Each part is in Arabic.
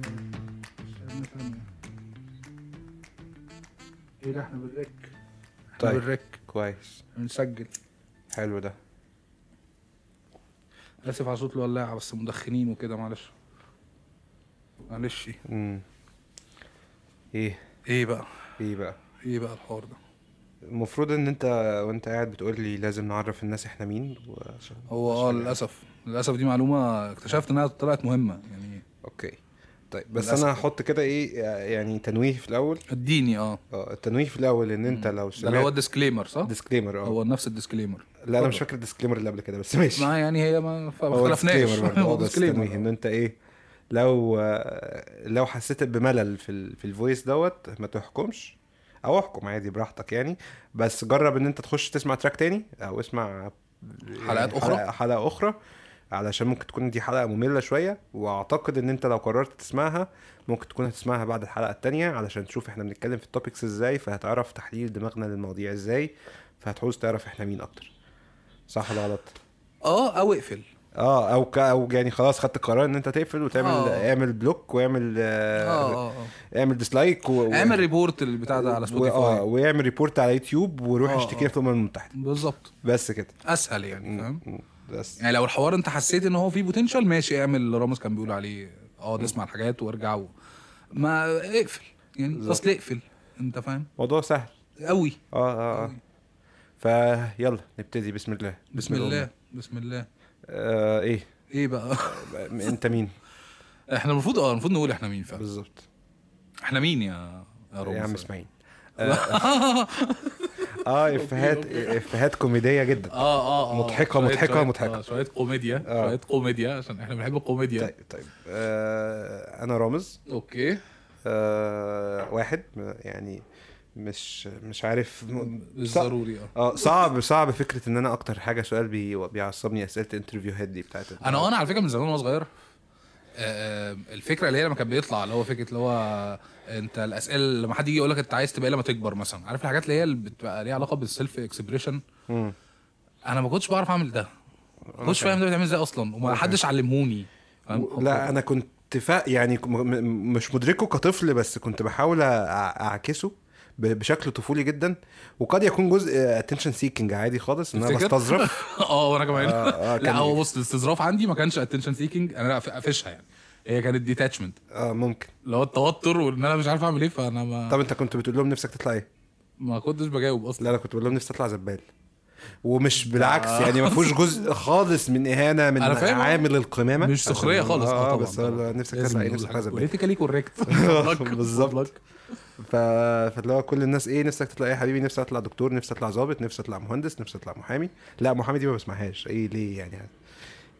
استنى ثانية. ايه ده احنا بالريك احنا طيب. بالريك كويس بنسجل حلو ده اسف على صوت الولاعة بس مدخنين وكده معلش معلش امم ايه ايه بقى ايه بقى ايه بقى الحوار ده المفروض ان انت وانت قاعد بتقول لي لازم نعرف الناس احنا مين و... هو اه للاسف للاسف دي معلومة اكتشفت انها طلعت مهمة يعني اوكي طيب بس للأسف. انا هحط كده ايه يعني تنويه في الاول اديني اه اه التنويه في الاول ان انت ده لو اللي هو سمعت الديسكليمر صح؟ ديسكليمر اه هو نفس الديسكليمر لا انا مش اتفضل. فاكر الديسكليمر اللي قبل كده بس ماشي ما يعني هي ما ف- ما هو اختلفناش disclaimer برضه، هو اه بس تنويه ان ديسكليمر انت ايه لو آه، لو حسيت بملل في ال في الفويس دوت ما تحكمش او احكم عادي براحتك يعني بس جرب ان انت تخش تسمع تراك تاني او اسمع حلقات أخرى؟ حلقة, حلقة اخرى علشان ممكن تكون دي حلقة مملة شوية واعتقد ان انت لو قررت تسمعها ممكن تكون هتسمعها بعد الحلقة التانية علشان تشوف احنا بنتكلم في التوبكس ازاي فهتعرف تحليل دماغنا للمواضيع ازاي فهتعوز تعرف احنا مين اكتر صح ولا غلط؟ اه او اقفل اه او ك... او يعني خلاص خدت قرار ان انت تقفل وتعمل آه. اعمل بلوك واعمل اه آه اه اه اعمل ديسلايك و... و- اعمل ريبورت البتاع ده على و... اه سبوتيفاي واعمل ريبورت على يوتيوب وروح آه، اشتكي آه. في الامم المتحده بالظبط بس كده اسهل يعني فاهم م- بس يعني لو الحوار انت حسيت ان هو فيه بوتنشال ماشي اعمل اللي راموس كان بيقول عليه اقعد اسمع الحاجات وارجع و... ما اقفل يعني بالظبط. اصل اقفل انت فاهم موضوع سهل قوي اه اه اه فيلا نبتدي بسم الله بسم الله بسم الله آه ايه ايه بقى م- انت مين احنا المفروض اه المفروض نقول احنا مين فاهم بالظبط احنا مين يا يا يا عم راموس اسماعيل آه. اه افيهات افيهات كوميديه جدا اه اه اه مضحكة، شوية- مضحكة، شوية- مضحكة. آه، شويه كوميديا آه. شويه كوميديا عشان احنا بنحب الكوميديا طيب طيب آه انا رامز اوكي آه واحد م- يعني مش مش عارف م- مش صع- ضروري اه اه صعب صعب فكره ان انا اكتر حاجه سؤال بي بيعصبني اسئله الانترفيوهات دي بتاعت ال- انا انا على فكره من زمان وانا صغير آه، آه، الفكره اللي هي لما كان بيطلع اللي هو فكره اللي هو انت الاسئله لما حد يجي يقول لك انت عايز تبقى ايه لما تكبر مثلا عارف الحاجات اللي هي اللي بتبقى ليها علاقه بالسيلف اكسبريشن مم. انا ما كنتش بعرف اعمل ده ما كنتش فاهم. فاهم ده بيتعمل ازاي اصلا وما أوكي. حدش علمهوني و- فاهم لا انا كنت فا يعني م- م- مش مدركه كطفل بس كنت بحاول أع- اعكسه ب- بشكل طفولي جدا وقد يكون جزء اتنشن سيكنج عادي خالص ان انا تفتكر؟ بستظرف اه وانا كمان آه، آه، لا كان- هو بص الاستظراف عندي ما كانش اتنشن سيكينج انا لا قافشها يعني هي كانت ديتاتشمنت اه ممكن اللي هو التوتر وان انا مش عارف اعمل ايه فانا ما طب انت كنت بتقول لهم نفسك تطلع ايه؟ ما كنتش بجاوب اصلا لا انا كنت بقول لهم نفسي اطلع زبال ومش بالعكس يعني ما فيهوش جزء خالص من اهانه من آه. أنا فاهم. آه. عامل القمامه مش سخريه عشان- خالص آه، اه بس أنا نفسك تطلع ايه نفسك تطلع زبال بوليتيكالي كوريكت بالظبط. ف... فاللي هو كل الناس ايه نفسك تطلع ايه يا حبيبي نفسي اطلع دكتور نفسي اطلع ظابط نفسي اطلع مهندس نفسي اطلع محامي لا محامي دي ما بسمعهاش ايه ليه يعني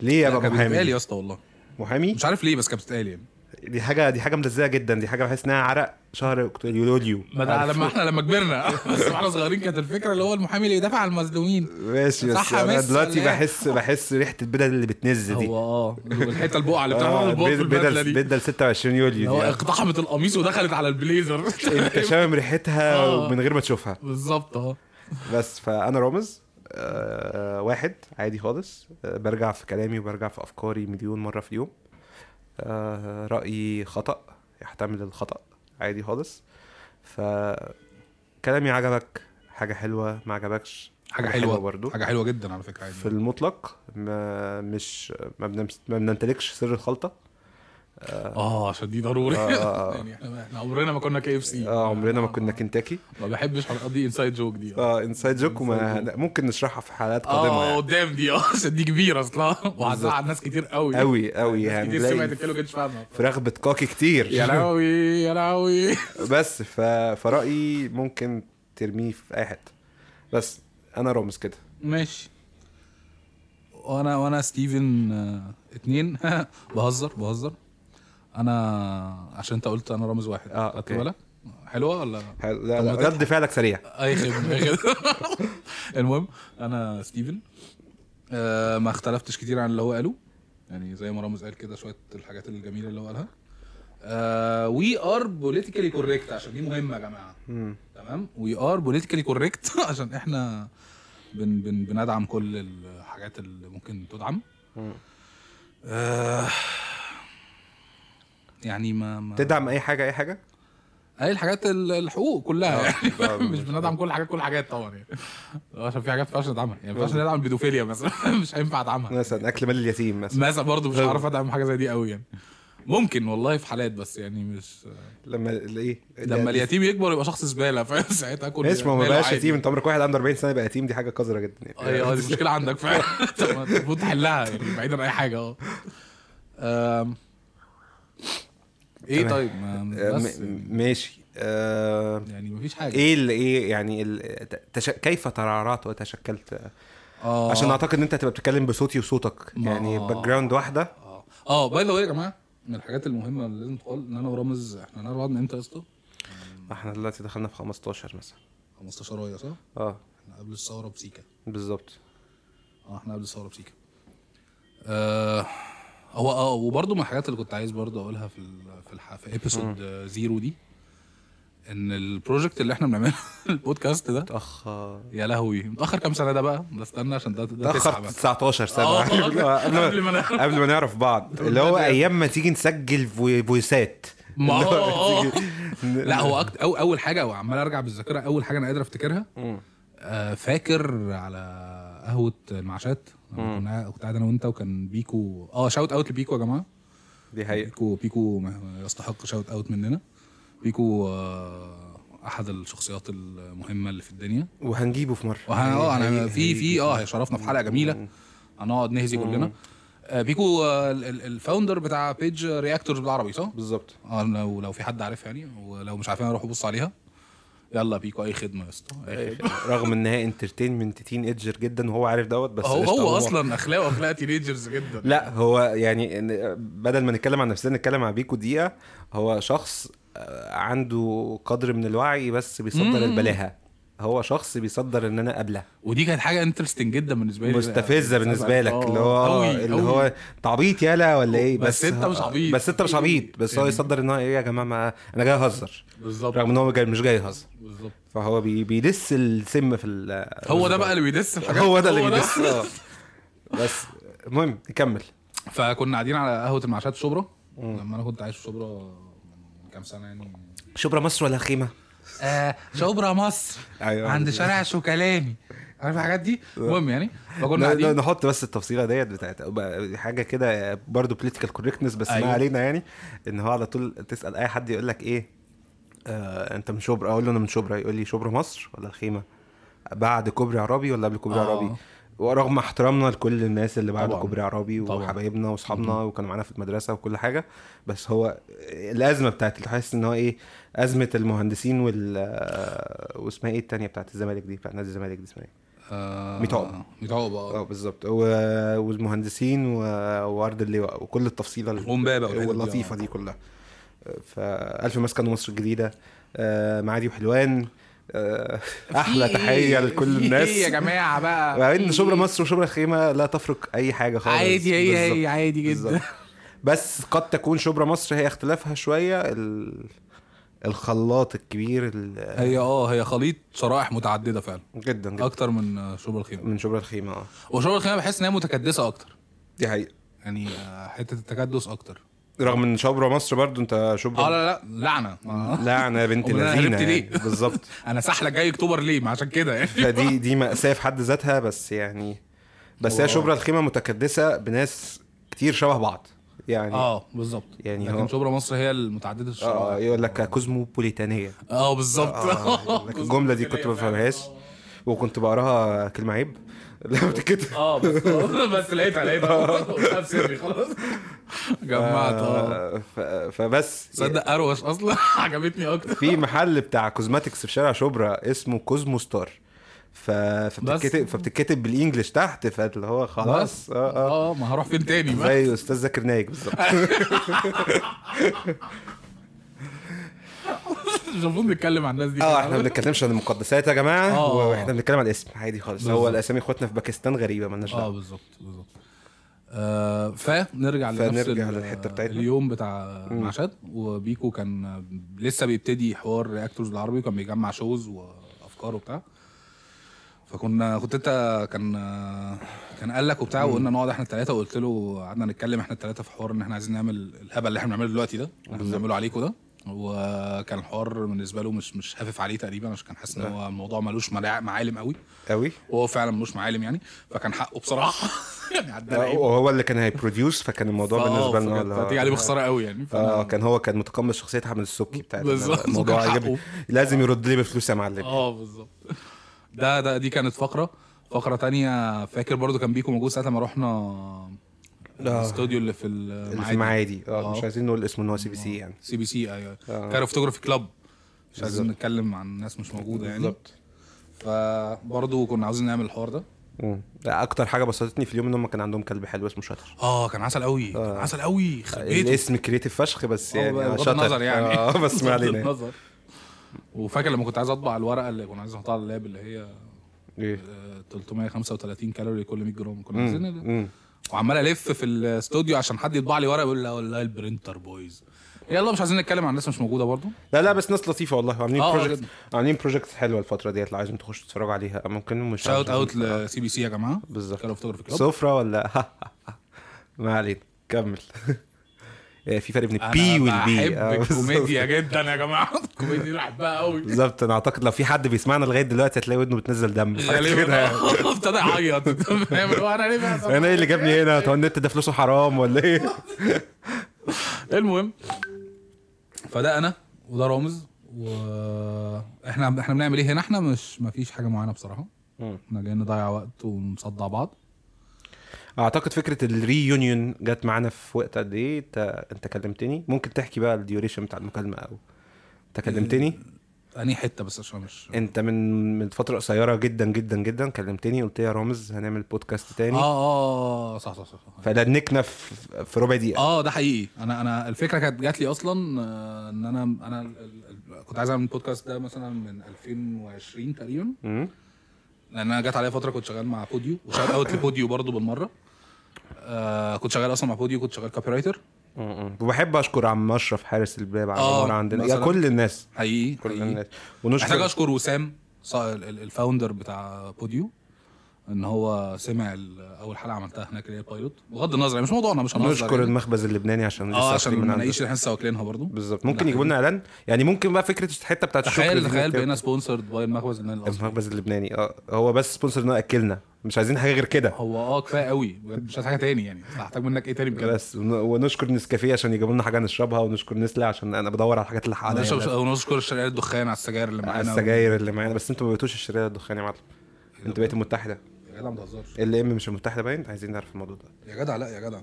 ليه ابقى بتتقال محامي يا اسطى والله محامي مش عارف ليه بس كانت بتتقال يعني دي حاجه دي حاجه ملزقه جدا دي حاجه بحس انها عرق شهر اكتوبر يوليو ما ده لما احنا لما كبرنا بس واحنا صغيرين كانت الفكره اللي هو المحامي اللي يدافع عن المظلومين ماشي صح بس يا انا مس دلوقتي ولا إيه؟ بحس بحس ريحه البدل اللي بتنز دي هو اه الحته البقعه اللي بتاعت اه البقعه في بدل البدله بدل دي بدل 26 اللي يوليو هو دي آه. اقتحمت القميص ودخلت على البليزر انت شامم ريحتها آه. ومن غير ما تشوفها بالظبط اه بس فانا رامز آه واحد عادي خالص آه برجع في كلامي وبرجع في افكاري مليون مره في اليوم آه رايي خطا يحتمل الخطا عادي خالص ف كلامي عجبك حاجه حلوه ما عجبكش حاجه حلوه برضو حاجه حلوه جدا على فكره في يعني المطلق ما مش ما, بنمس... ما بنمتلكش سر الخلطه اه عشان دي ضروري آه. يعني احنا إحنا عمرنا ما كنا كي اف سي آه عمرنا ما كنا كنتاكي ما بحبش الحلقات دي انسايد جوك دي اه انسايد جوك وما Inside ممكن نشرحها في حلقات قادمه اه يعني. قدام دي اه عشان دي كبيره اصلا وهتزعل بالظبط. ناس كتير قوي قوي قوي ناس يعني كتير سمعت تلاقي الكلمه كانتش فاهمها في رغبه كوكي كتير يا لهوي يا لهوي بس ف... فرايي ممكن ترميه في اي حته بس انا رامز كده ماشي وانا وانا ستيفن آه، اتنين بهزر بهزر انا عشان انت قلت انا رامز واحد آه، خدت أوكي. بالك حلوه ولا حلو، لا طب ما لا آه. تضحك. رد فعلك سريع اي خدمه أي خدمة. المهم انا ستيفن آه، ما اختلفتش كتير عن اللي هو قاله يعني زي ما رامز قال كده شويه الحاجات الجميله اللي هو قالها وي ار بوليتيكالي كوريكت عشان دي مهمه يا جماعه مم. تمام وي ار بوليتيكالي كوريكت عشان احنا بن بن بندعم كل الحاجات اللي ممكن تدعم مم. آه، يعني ما, ما تدعم اي حاجه اي حاجه اي الحاجات ال- الحقوق كلها آه، يعني مش بندعم كل حاجات كل حاجات طبعا يعني عشان في حاجات ما ينفعش ندعمها يعني ما آه. ينفعش ندعم البيدوفيليا مثلا مش هينفع ادعمها مثلا اكل مال اليتيم مثلا مثلا برضه آه. مش هعرف ادعم حاجه زي دي قوي يعني ممكن والله في حالات بس يعني مش لما ال- ايه لما اليتيم يكبر يبقى شخص زباله فاهم ساعتها كل ماشي ما هو ما بقاش يتيم انت عمرك واحد عنده 40 سنه يبقى يتيم دي حاجه قذره جدا يعني اي اه دي مشكله عندك فعلا طب ما المفروض تحلها يعني بعيدا عن اي حاجه اه أم. ايه تمام. طيب ما آه، بس م- م- ماشي آه، يعني مفيش حاجه ايه اللي ايه يعني ال- تش... كيف ترعرعت وتشكلت اه عشان اعتقد ان انت هتبقى بتتكلم بصوتي وصوتك ما- آه. يعني باك جراوند واحده اه اه باي ذا واي يا جماعه من الحاجات المهمه اللي لازم تقال ان انا ورامز احنا هنعرف بعض من امتى يا اسطى؟ احنا دلوقتي دخلنا في 15 مثلا 15 وهي صح؟ اه احنا قبل الثوره بسيكا بالظبط اه احنا قبل الثوره بسيكا آه هو اه وبرضه من الحاجات اللي كنت عايز برضه اقولها في ال- في الح... في ابيسود زيرو دي ان البروجكت اللي احنا بنعمله البودكاست ده اتاخر يا لهوي متاخر كام سنه ده بقى؟ ده استنى عشان ده ده تسعه اتاخر بقى 19 سنه آه، عارف اللي هو قبل قبل ما ما نعرف. قبل ما نعرف بعض اللي هو ايام ما تيجي نسجل فوي- فويسات ما اللي هو هو- تيجي- لا هو أكت... أو اول حاجه وعمال ارجع بالذاكره اول حاجه انا قادر افتكرها مم. آه، فاكر على قهوه المعاشات لما كنا كنت قاعد انا وانت وكان بيكو اه شاوت اوت لبيكو يا جماعه دي حقيقه بيكو بيكو ما- يستحق شاوت اوت مننا بيكو آه، احد الشخصيات المهمه اللي في الدنيا وهنجيبه في مره وه- اه انا هي- في في اه هيشرفنا في حلقه جميله هنقعد نهزي كلنا آه، بيكو آه، ال- ال- الفاوندر بتاع بيج رياكتورز بالعربي صح؟ بالظبط اه لو لو في حد عارف يعني ولو مش عارفين روحوا بصوا عليها يلا بيكو اي خدمه يا اسطى اي خدمه رغم ان هي انترتينمنت تين ايدجر جدا وهو عارف دوت بس هو قشطة، هو اصلا اخلاقه اخلاق تينيجرز جدا لا هو يعني إن- بدل ما نتكلم عن نفسنا نتكلم عن بيكو دقيقة هو شخص آه، عنده قدر من الوعي بس بيصدر البلاهة هو شخص بيصدر ان انا قبله ودي كانت حاجه انترستنج جدا بالنسبه لي آه. مستفزه بالنسبه لك اللي هو إيه، أوي، اللي أوي. هو انت عبيط يالا ولا ايه بس أنت مش عبيط. يعني بس انت مش عبيط بس هو يصدر ان هو ايه يا جماعه ما انا جاي اهزر بالظبط رغم ان هو جاي- مش جاي يهزر بالظبط فهو بي بيدس السم في ال هو ده بقى اللي بيدس الحاجات هو ده اللي بيدس آه. بس المهم نكمل فكنا قاعدين على قهوه المعاشات في شبرا لما انا كنت عايش في شبرا من كام سنه يعني شبرا مصر ولا خيمه؟ آه شبرا مصر أيوة. عند شارع شوكلاني عارف الحاجات دي المهم يعني فكنا ن- ن- قاعدين نحط بس التفصيله ديت بتاعت بقى حاجه كده برضو بوليتيكال كوركتنس بس أيوة. ما علينا يعني ان هو على طول تسال اي حد يقول لك ايه آه انت من شبرا اقول له انا من شبرا يقول لي شبرا مصر ولا الخيمه بعد كوبري عربي ولا قبل كوبري آه. عربي ورغم احترامنا لكل الناس اللي بعد طبعاً. كوبري عربي طبعاً. وحبايبنا واصحابنا وكانوا معانا في المدرسه وكل حاجه بس هو الازمه بتاعت اللي تحس ان هو ايه ازمه المهندسين وال آه، واسمها ايه التانيه بتاعت الزمالك دي بتاعت نادي الزمالك دي اسمها ايه؟ آه، ميت عقبة. ميت عقبة، اه اه بالظبط و... والمهندسين و... وارض اللواء وكل التفصيله ال- ومبابة والحاجات دي، واللطيفه اه. دي كلها فالف مسكن مصر الجديده آه، معادي وحلوان آه، احلى في إيه؟ تحيه لكل في الناس ايه يا جماعه بقى وبعدين في شبرا إيه؟ مصر وشبرا الخيمه لا تفرق اي حاجه خالص عادي هي هي بالظبط، عادي جدا بالظبط. بس قد تكون شبرا مصر هي اختلافها شويه ال... الخلاط الكبير ال... هي اه هي خليط شرائح متعدده فعلا جدا جدا اكتر من آه، شرب الخيمه من شبرا الخيمه اه وشرب الخيمه بحس ان هي متكدسه اكتر دي حقيقه يعني آه، حته التكدس اكتر رغم ان شبرا مصر برضو انت شبرا اه لا لا لعنه آه. لا انا بنت أمال أنا لذينه هربت يعني. ليه؟ بالظبط انا سحله جاي اكتوبر ليه ما عشان كده يعني فدي دي مأساة في حد ذاتها بس يعني بس هي واو. شبرا الخيمة متكدسة بناس كتير شبه بعض يعني اه, اه بالظبط يعني لكن هو- شبرا مصر هي المتعدده آه الشرائح يقول لك كوزموبوليتانية اه بالظبط آه الجملة دي كنت ما بفهمهاش وكنت بقراها كلمة عيب لما بتتكتب اه بس بس لقيتها لقيتها قلتها بسري خلاص جمعت اه آه، ف- فبس تصدق اروش اصلا عجبتني اكتر في محل بتاع كوزماتكس في شارع شبرا اسمه كوزمو ستار ف... فبتتكتب فبتتكتب بالانجلش تحت فاللي هو خلاص اه اه اه ما هروح فين تاني بقى زي استاذ ذاكر نايك بالظبط مش المفروض نتكلم عن الناس دي اه كده. احنا ما بنتكلمش عن المقدسات يا جماعه آه. واحنا بنتكلم عن الاسم عادي خالص هو بالظبط. الاسامي اخواتنا في باكستان غريبه مالناش اه دعوه بالظبط بالظبط آه فنرجع لنفس فنرجع ال- للحتة بتاعتنا. اليوم بتاع مم. معشاد وبيكو كان لسه بيبتدي حوار رياكتورز بالعربي وكان بيجمع شوز وافكار وبتاع فكنا كنت انت كان كان قال لك وبتاع وقلنا نقعد احنا الثلاثه وقلت له قعدنا نتكلم احنا الثلاثه في حوار ان احنا عايزين نعمل الهبل اللي احنا بنعمله دلوقتي ده اللي احنا بنعمله عليكم ده وكان الحوار بالنسبه له مش مش هافف عليه تقريبا عشان كان حاسس ان هو الموضوع ملوش ملاع- معالم قوي قوي وهو فعلا ملوش معالم يعني فكان حقه بصراحه يعني عدى آه، وهو اللي كان هيبروديوس فكان الموضوع بالنسبه لنا اللي هو- هتيجي عليه بخساره قوي يعني اه كان هو كان متقمص شخصيه حمد السبكي بتاعت بالظبط، الموضوع وكان عجبني. لازم يرد لي بفلوس يا معلم اه بالظبط ده ده دي كانت فقره فقره تانية فاكر برضو كان بيكو موجود ساعه ما رحنا الاستوديو اللي في اللي في المعادي المعادي اه آه. مش عايزين نقول اسمه ان هو سي بي سي يعني اه. سي بي سي ايوه آه. كان فوتوغرافي كلاب مش عايزين بالظبط. نتكلم عن ناس مش موجوده يعني فبرضه كنا عاوزين نعمل الحوار ده مم. ده اكتر حاجه بسطتني في اليوم ان هم كان عندهم كلب حلو اسمه شاطر اه كان عسل قوي آه. كان عسل قوي خبيته الاسم كريتيف فشخ بس آه، يعني آه، إيه بغض شاطر النظر يعني اه بس ما بغض علينا النظر وفاكر لما كنت عايز اطبع الورقه اللي كنا عايزين نحطها على اللاب اللي هي إيه. آه، 335 كالوري كل 100 جرام كنا مم. عايزين مم. وعمال الف في الاستوديو عشان حد يطبع لي ورقه يقول لا والله البرنتر بويز يلا مش عايزين نتكلم عن ناس مش موجوده برضو لا لا بس ناس لطيفه والله عاملين آه، آه، بروجكت جداً. عاملين بروجكت حلوه الفتره ديت لو عايزين تخشوا تتفرجوا عليها ممكن مش شاوت عايزين- اوت لسي بي سي يا جماعه بالظبط كانوا فوتوغرافي كلاب سفرة ولا ما علينا كمل آه، في فرق بين أنا البي والبي آه، بحب بالظبط. الكوميديا جدا يا جماعه الكوميديا دي بحبها قوي بالظبط انا اعتقد لو في حد بيسمعنا لغايه دلوقتي هتلاقي ودنه بتنزل دم حاجة كده غالبا يعني. ابتدى يعيط فاهم اللي هو انا ليه بقى؟ انا ايه اللي جابني هنا هو النت ده فلوسه حرام ولا ايه المهم فده انا وده رامز واحنا احنا بنعمل ايه هنا احنا مش مفيش حاجه معينه بصراحه مم. احنا جايين نضيع وقت ونصدع بعض اعتقد فكره الريونيون جت معانا في وقت قد ايه انت انت كلمتني ممكن تحكي بقى الديوريشن بتاع المكالمه او انت كلمتني انهي حته بس عشان مش انت من من فتره قصيره جدا جدا جدا كلمتني قلت لي يا رامز هنعمل بودكاست تاني اه اه صح صح صح صح. فلنكنا في في ربع دقيقه اه ده حقيقي انا انا الفكره كانت جات لي اصلا آه، ان انا انا ال- ال- كنت عايز اعمل البودكاست ده مثلا من 2020 تقريبا مم. لان انا جت عليا فتره كنت شغال مع بوديو وشغال اوت لبوديو برضو بالمره آه كنت شغال اصلا مع بوديو كنت شغال كوبي رايتر م-م. وبحب اشكر عم اشرف حارس الباب على آه، العمارة عندنا يا مثلاً. كل الناس حقيقي كل حقيقي. الناس محتاج ونشكر اشكر وسام صا- ال- ال- الفاوندر بتاع بوديو ان هو سمع ال- اول حلقه عملتها هناك اللي هي البايلوت بغض النظر يعني مش موضوعنا مش هنهزر نشكر يعني. المخبز اللبناني عشان لسه اه واصلين عشان من ما عنده. نعيش اللي احنا لسه واكلينها برضه بالظبط ممكن يجيبوا لنا اعلان يعني ممكن بقى فكره الحته بتاعت الشكر تخيل دي تخيل نتكلم- بقينا سبونسرد باي المخبز اللبناني الاصلي المخبز اللبناني اه هو بس سبونسر انه اكلنا مش عايزين حاجه غير كده هو اه كفايه قوي بجد مش عايز حاجه تاني يعني هحتاج منك ايه تاني بجد بس ون- ونشكر نسكافيه عشان يجيبوا لنا حاجه نشربها ونشكر نسله عشان انا بدور على الحاجات اللي حقناها ونشكر ونشكر الشرقية الدخان على السجاير اللي معانا على السجاير اللي معانا بس انتوا ما بقيتوش الشريعه الدخان يا معلم انتوا بقيتوا المتحده يا جدع ما تهزرش ال ام مش المتحده باين عايزين نعرف الموضوع ده يا جدع لا يا جدع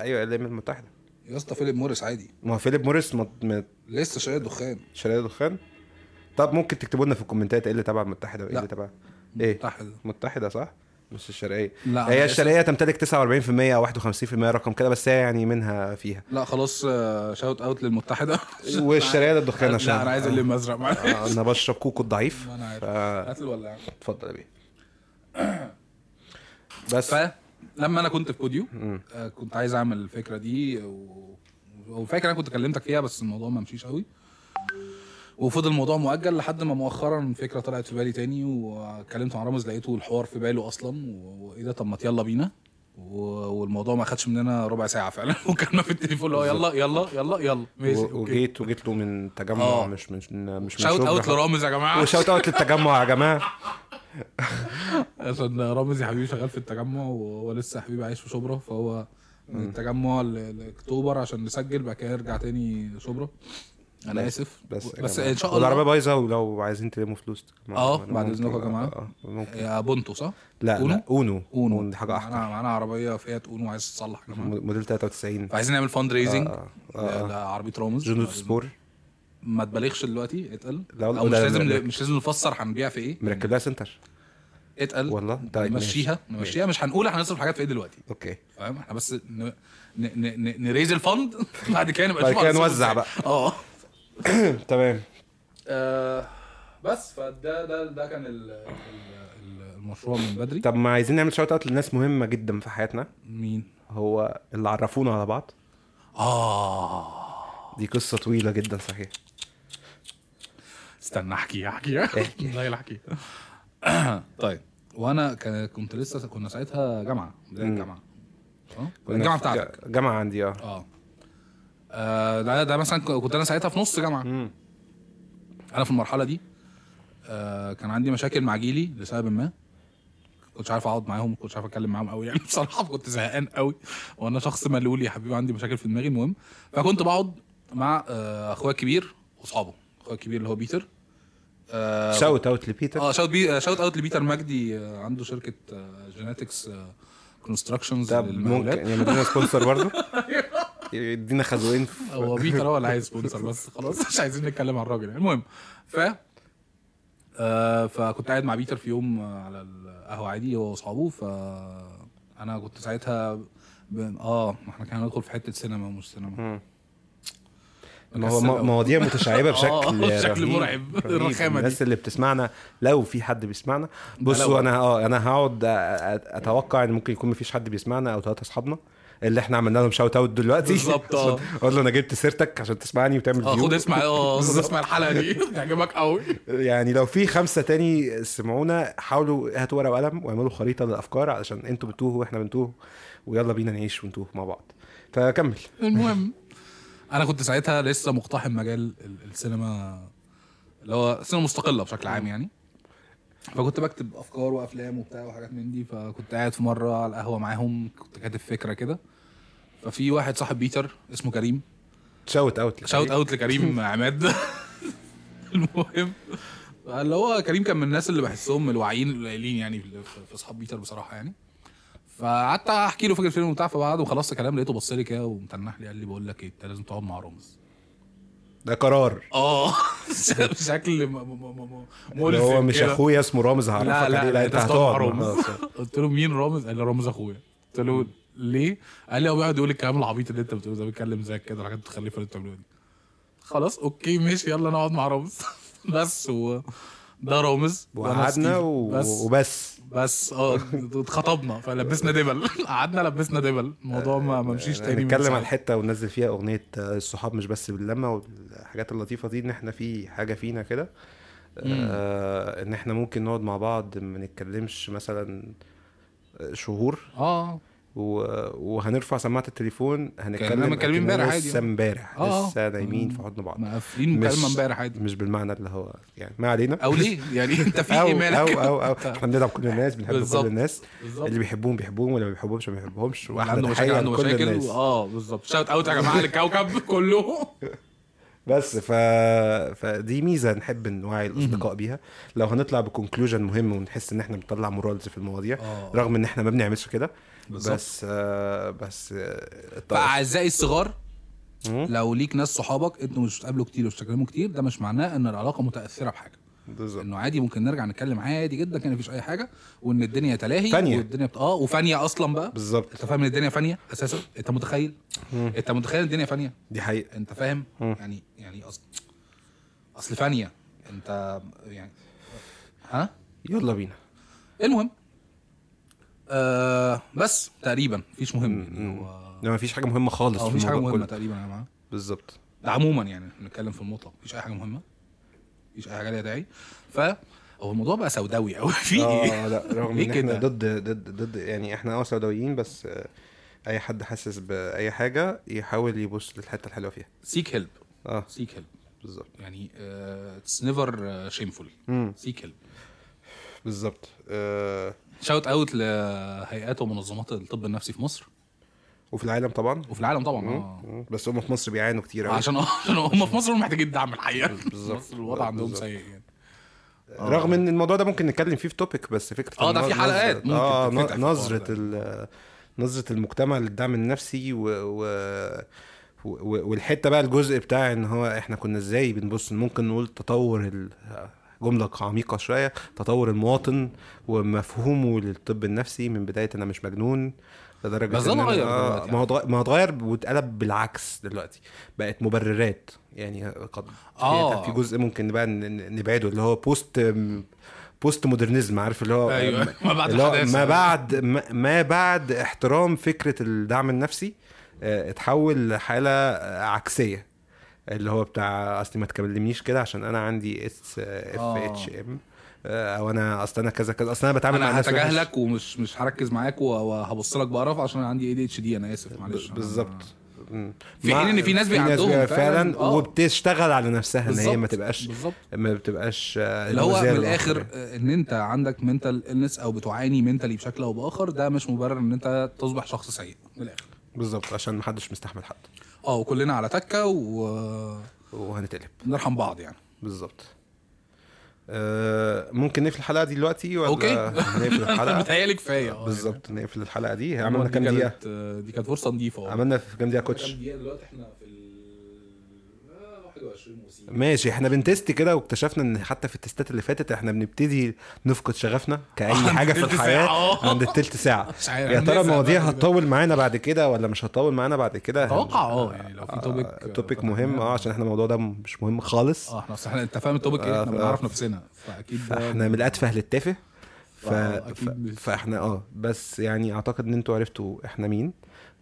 ايوه ال ام المتحده يا اسطى فيليب موريس عادي ما هو فيليب موريس مط- مط- لسه شرقية الدخان شرقية دخان طب ممكن تكتبوا لنا في الكومنتات ايه اللي تبع المتحده وايه لا. اللي تبع ايه متحدة. متحده صح مش الشرقيه لا، هي أنا الشرقيه تمتلك 49% او 51% رقم كده بس هي يعني منها فيها لا خلاص آه، شاوت اوت للمتحده والشرقيه ده الدخان آه. عشان لا انا عايز اللي مزرق معلش آه، انا بشرب كوكو الضعيف ما انا عارف فا- هات الولاعه اتفضل يا بيه بس فلما انا كنت في بوديو آه، كنت عايز اعمل الفكره دي و- وفاكر انا كنت كلمتك فيها بس الموضوع ما مشيش قوي وفضل الموضوع مؤجل لحد ما مؤخرا فكره طلعت في بالي تاني وكلمت مع رامز لقيته الحوار في باله اصلا و- وايه ده طب ما يلا بينا و- والموضوع ما خدش مننا ربع ساعه فعلا وكان في التليفون اللي هو يلا يلا يلا يلا ماشي و- اوكي وجيت وجيت له من تجمع آه. مش مش من مش من شاوت شبرا. اوت لرامز يا جماعه وشاوت اوت للتجمع يا جماعه عشان رامز يا حبيبي شغال في التجمع وهو لسه حبيبي عايش في شبرا فهو من التجمع ل- لاكتوبر عشان نسجل بعد كده يرجع تاني شبرا انا اسف بس يا بس جماعة. ان شاء والعربيه الله بايظه ولو عايزين تلموا فلوس تجمعوا. آه، ممكن- بعد إذنكم يا جماعة. آه، ممكن يا بونتو صح؟ لا أونو؟ لا اونو اونو دي حاجه احقر معانا معانا عربيه فيات اونو عايز تصلح يا جماعه م- موديل 93 فعايزين نعمل فاند ريزنج آه، آه. لعربيه رامز جندو سبور ما تبالغش دلوقتي اتقل لا، او مش لا، لا، لا. لازم مش لازم نفسر هنبيع في ايه مركب لها سنتر اتقل والله طيب ماشي. نمشيها نمشيها مش هنقول احنا هنصرف حاجات في ايه دلوقتي اوكي فاهم احنا بس ن... ن... ن... ن... نريز الفند بعد كده نبقى بعد نشوف كده هنصرف نوزع إزاي. بقى. اه تمام آه، بس فده ده ده كان ال... ال- ال- المشروع من بدري طب ما عايزين نعمل شوت اوت لناس مهمه جدا في حياتنا مين هو اللي عرفونا على بعض اه دي قصه طويله جدا صحيح استنى احكي احكي والله احكي طيب وانا كان- كنت لسه كنا ساعتها جامعه بدايه مم. الجامعه اه كنا الجامعه في بتاعتك ج- جامعه عندي اه اه آه، ده ده مثلا ك- كنت انا ساعتها في نص جامعه مم. انا في المرحله دي آه، كان عندي مشاكل مع جيلي لسبب ما كنتش عارف اقعد معاهم كنتش عارف اتكلم معاهم قوي يعني بصراحه كنت زهقان قوي وانا شخص ملول يا حبيبي عندي مشاكل في دماغي المهم فكنت بقعد مع آه، اخويا الكبير واصحابه اخويا الكبير اللي هو بيتر آه، شاوت اوت لبيتر اه شوت بي آه، شوت اوت لبيتر مجدي آه، عنده شركه جينetics كونستراكشنز ده ممكن للمقاولات يعمل سبونسر برضه يدينا خازوقين في هو بيتر هو اللي عايز سبونسر بس خلاص مش عايزين نتكلم عن الراجل يعني. المهم ف آه فكنت قاعد مع بيتر في يوم آه، على القهوه عادي هو واصحابه ف انا كنت ساعتها ب... اه ما احنا كنا هندخل في حته سينما ومش سينما مم. ما هو مكسل مو- أوي. مواضيع متشعبه آه، بشكل بشكل رهيب- مرعب. رهيب. الرخامة دي. الناس اللي بتسمعنا لو في حد بيسمعنا بصوا لو. انا اه انا هقعد أ- أ- اتوقع ان ممكن يكون مفيش حد بيسمعنا او ثلاثه اصحابنا اللي احنا عملنا لهم شاوت اوت دلوقتي بالظبط، آه. اقول له انا جبت سيرتك عشان تسمعني وتعمل اه فيو. خد اسمع اه خد اسمع الحلقه دي تعجبك قوي يعني لو في خمسه تاني سمعونا حاولوا هاتوا ورقه وقلم واعملوا خريطه للافكار علشان انتوا بتوهوا واحنا بنتوه ويلا بينا نعيش ونتوه مع بعض فكمل المهم انا كنت ساعتها لسه مقتحم مجال ال- السينما اللي هو السينما مستقله بشكل عام يعني فكنت بكتب افكار وافلام وبتاع وحاجات من دي فكنت قاعد في مره على القهوه معاهم كنت كاتب فكره كده ففي واحد صاحب بيتر اسمه كريم شاوت اوت شاوت اوت لكريم عماد المهم اللي هو كريم كان من الناس اللي بحسهم الواعيين القليلين يعني في- في اصحاب بيتر بصراحه يعني فقعدت احكي له فكره الفيلم وبتاع فبعد وخلصت كلام لقيته بص لي كده ومتنح لي قال لي بقول لك ايه انت لازم تقعد مع رامز ده قرار اه بشكل م- م- م- م- اللي هو ملفت مش كده. اخويا اسمه رامز هعرفك لا عليه لا, لا انت انت هتقعد مع هتقعد رامز معاه. آه، قلت له مين رامز قال لي رامز اخويا قلت له ليه قال لي هو بيقعد يقول الكلام العبيط اللي انت بتقوله ده بيتكلم زيك كده الحاجات الخليفه اللي بتعملوها دي خلاص اوكي ماشي يلا نقعد مع رامز بس هو ده رامز وأنا وقعدنا ستيف. و- بس وبس بس اه اتخطبنا فلبسنا دبل قعدنا لبسنا دبل الموضوع ما ما مشيش تاني من نتكلم عن ساعتها. حته وننزل فيها اغنيه آه، الصحاب مش بس باللمه والحاجات اللطيفه دي ان احنا في حاجه فينا كده آه ان احنا ممكن نقعد مع بعض ما نتكلمش مثلا شهور اه و- وهنرفع سماعه التليفون هنتكلم كأننا متكلمين أكننا امبارح عادي. لسه امبارح آه، آه. لسه نايمين آه. في حضن بعض مقفلين مكالمه مش- امبارح عادي مش بالمعنى اللي هو يعني ما علينا او ليه يعني انت في ايه او مالك او او او احنا بندعم كل الناس بنحب بالظبط. كل الناس بالظبط. اللي بيحبوهم بيحبوهم واللي ما بيحبوهمش ما بيحبوهمش اللي واحنا عنده مشاكل نتحيا عنده لكل مشاكل الناس. اه بالظبط شاوت اوت يا جماعه للكوكب كله طيب. بس ف... فدي ميزه نحب نوعي الاصدقاء بيها لو هنطلع بكونكلوجن مهم ونحس ان احنا بنطلع مورالز في المواضيع آه. رغم ان احنا ما بنعملش كده بالظبط. بس آه بس آه، الط- فاعزائي الصغار مم. لو ليك ناس صحابك انتوا مش بتقابلوا كتير ومش بتتكلموا كتير ده مش معناه ان العلاقه متاثره بحاجه بالظبط انه عادي ممكن نرجع نتكلم عادي جدا كان مفيش اي حاجه وان الدنيا تلاهي فانية. والدنيا بت... اه وفانيه اصلا بقى بالظبط انت فاهم ان الدنيا فانيه اساسا انت متخيل انت متخيل الدنيا فانيه دي حقيقه انت فاهم مم. يعني يعني اصل اصل فانيه انت يعني ها يلا بينا المهم آه بس تقريبا مفيش مهم يعني هو ده ما فيش حاجه مهمه خالص او في آه، مفيش حاجه الموضوع مهمه كله. تقريبا يا جماعه بالظبط ده عموما يعني احنا بنتكلم في المطلق مفيش اي حاجه مهمه مفيش اي حاجه ليها داعي ف هو الموضوع بقى سوداوي قوي في ايه اه لا رغم ليه ان احنا كده؟ ضد ضد ضد يعني احنا اه سوداويين بس آه، اي حد حاسس باي حاجه يحاول يبص للحته الحلوه فيها سيك هيلب اه سيك هيلب بالظبط يعني اتس نيفر شيمفول مم. سيك هيلب بالظبط آه شاوت اوت لهيئات ومنظمات الطب النفسي في مصر وفي العالم طبعا وفي العالم طبعا اه مم. بس هم في مصر بيعانوا كتير قوي عشان آه، عشان هم في مصر هم محتاجين دعم الحقيقه بالظبط. مصر الوضع عندهم بالظبط. سيء يعني آه. رغم ان الموضوع ده ممكن نتكلم فيه في توبيك بس فكره آه، ده الن- في حلقات نظرة- ممكن اه تتفتح في ن- الحوار نظره ده. ال- نظره المجتمع للدعم النفسي و, و... و- والحته بقى الجزء بتاع ان هو احنا كنا ازاي بنبص ممكن نقول تطور ال... جملة عميقة شوية تطور المواطن ومفهومه للطب النفسي من بداية أنا مش مجنون لدرجة بس ده إن أنا- اتغير آه، دلوقتي ما هو اتغ- ما هو اتغير واتقلب بالعكس دلوقتي بقت مبررات يعني قد في- آه. في جزء ممكن بقى ن- ن- نبعده اللي هو بوست بوست مودرنزم عارف اللي هو ايوه ما بعد اللي هو الحداثة. ما بعد ما- ما بعد احترام فكره الدعم النفسي آه، اتحول لحاله آه، عكسيه اللي هو بتاع اصلي ما تكلمنيش كده عشان انا عندي اس اف آه. اتش ام او انا اصل انا كذا كذا اصل انا بتعامل مع انا الناس وحش. هتجاهلك ومش مش هركز معاك و- وهبص لك بقرف عشان عندي اي دي اتش دي انا اسف معلش ب- بالظبط مم. في مع- حين إن في ناس بيبقى عندهم بيبقى فعلاً، فعلا آه. وبتشتغل على نفسها ان هي ما بالظبط، تبقاش يعني. بالظبط ما بتبقاش آه، اللي هو مؤذية من للآخر الاخر آه، ان انت عندك منتال النس او بتعاني منتالي بشكل او باخر ده مش مبرر ان انت تصبح شخص سيء من الاخر بالظبط عشان ما حدش مستحمل حد اه وكلنا على تكه ونرحم وهنتقلب بعض يعني بالظبط آه، ممكن نقفل الحلقه دي دلوقتي ولا أوكي. نقفل انا الحلقه متهيألي كفايه آه، بالظبط نقفل الحلقه دي يعني. عملنا دي كام دقيقه كانت- آه، دي كانت فرصه نضيفه والله. عملنا في كام دقيقه كوتش كام دقيقه دلوقتي احنا في ال- آه، 21 وسيم ماشي احنا بنتست كده واكتشفنا ان حتى في التستات اللي فاتت احنا بنبتدي نفقد شغفنا كاي عند حاجه في التلت الحياه اه، ساعة، اه. عند التلت ساعه مش عارف يا ترى هنقفل المواضيع بقى. هتطول معانا بعد كده ولا مش هتطول معانا بعد كده اتوقع اه يعني لو في توبيك توبيك آه، مهم اه عشان احنا الموضوع ده مش مهم خالص اه احنا اصل احنا انت فاهم التوبيك ايه احنا بنعرف نفسنا فاكيد ده- آه، فاحنا من الاتفه للتافه ف... آه، ف... أكيد مش- فاحنا اه بس يعني اعتقد ان انتوا عرفتوا احنا مين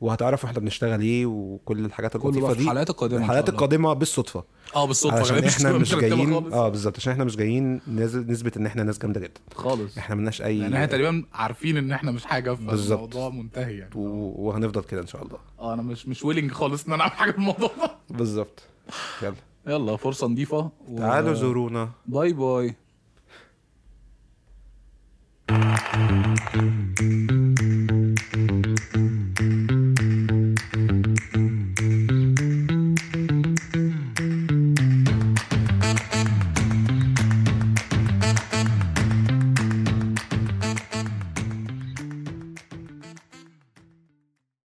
وهتعرفوا احنا بنشتغل ايه وكل الحاجات كله اللطيفه بقى في دي الحلقات القادمه إن شاء الحلقات الله. القادمه بالصدفه اه بالصدفه عشان كده، احنا مش مرتبة جايين خالص. اه بالظبط عشان احنا مش جايين نز- نثبت ان احنا ناس جامده جدا خالص احنا ملناش اي يعني احنا تقريبا عارفين ان احنا مش حاجه بالظبط. فالموضوع منتهي يعني و... وهنفضل كده ان شاء الله اه انا مش مش ويلنج خالص ان انا اعمل حاجه في الموضوع ده بالظبط يلا يلا فرصه نضيفه و... تعالوا زورونا باي باي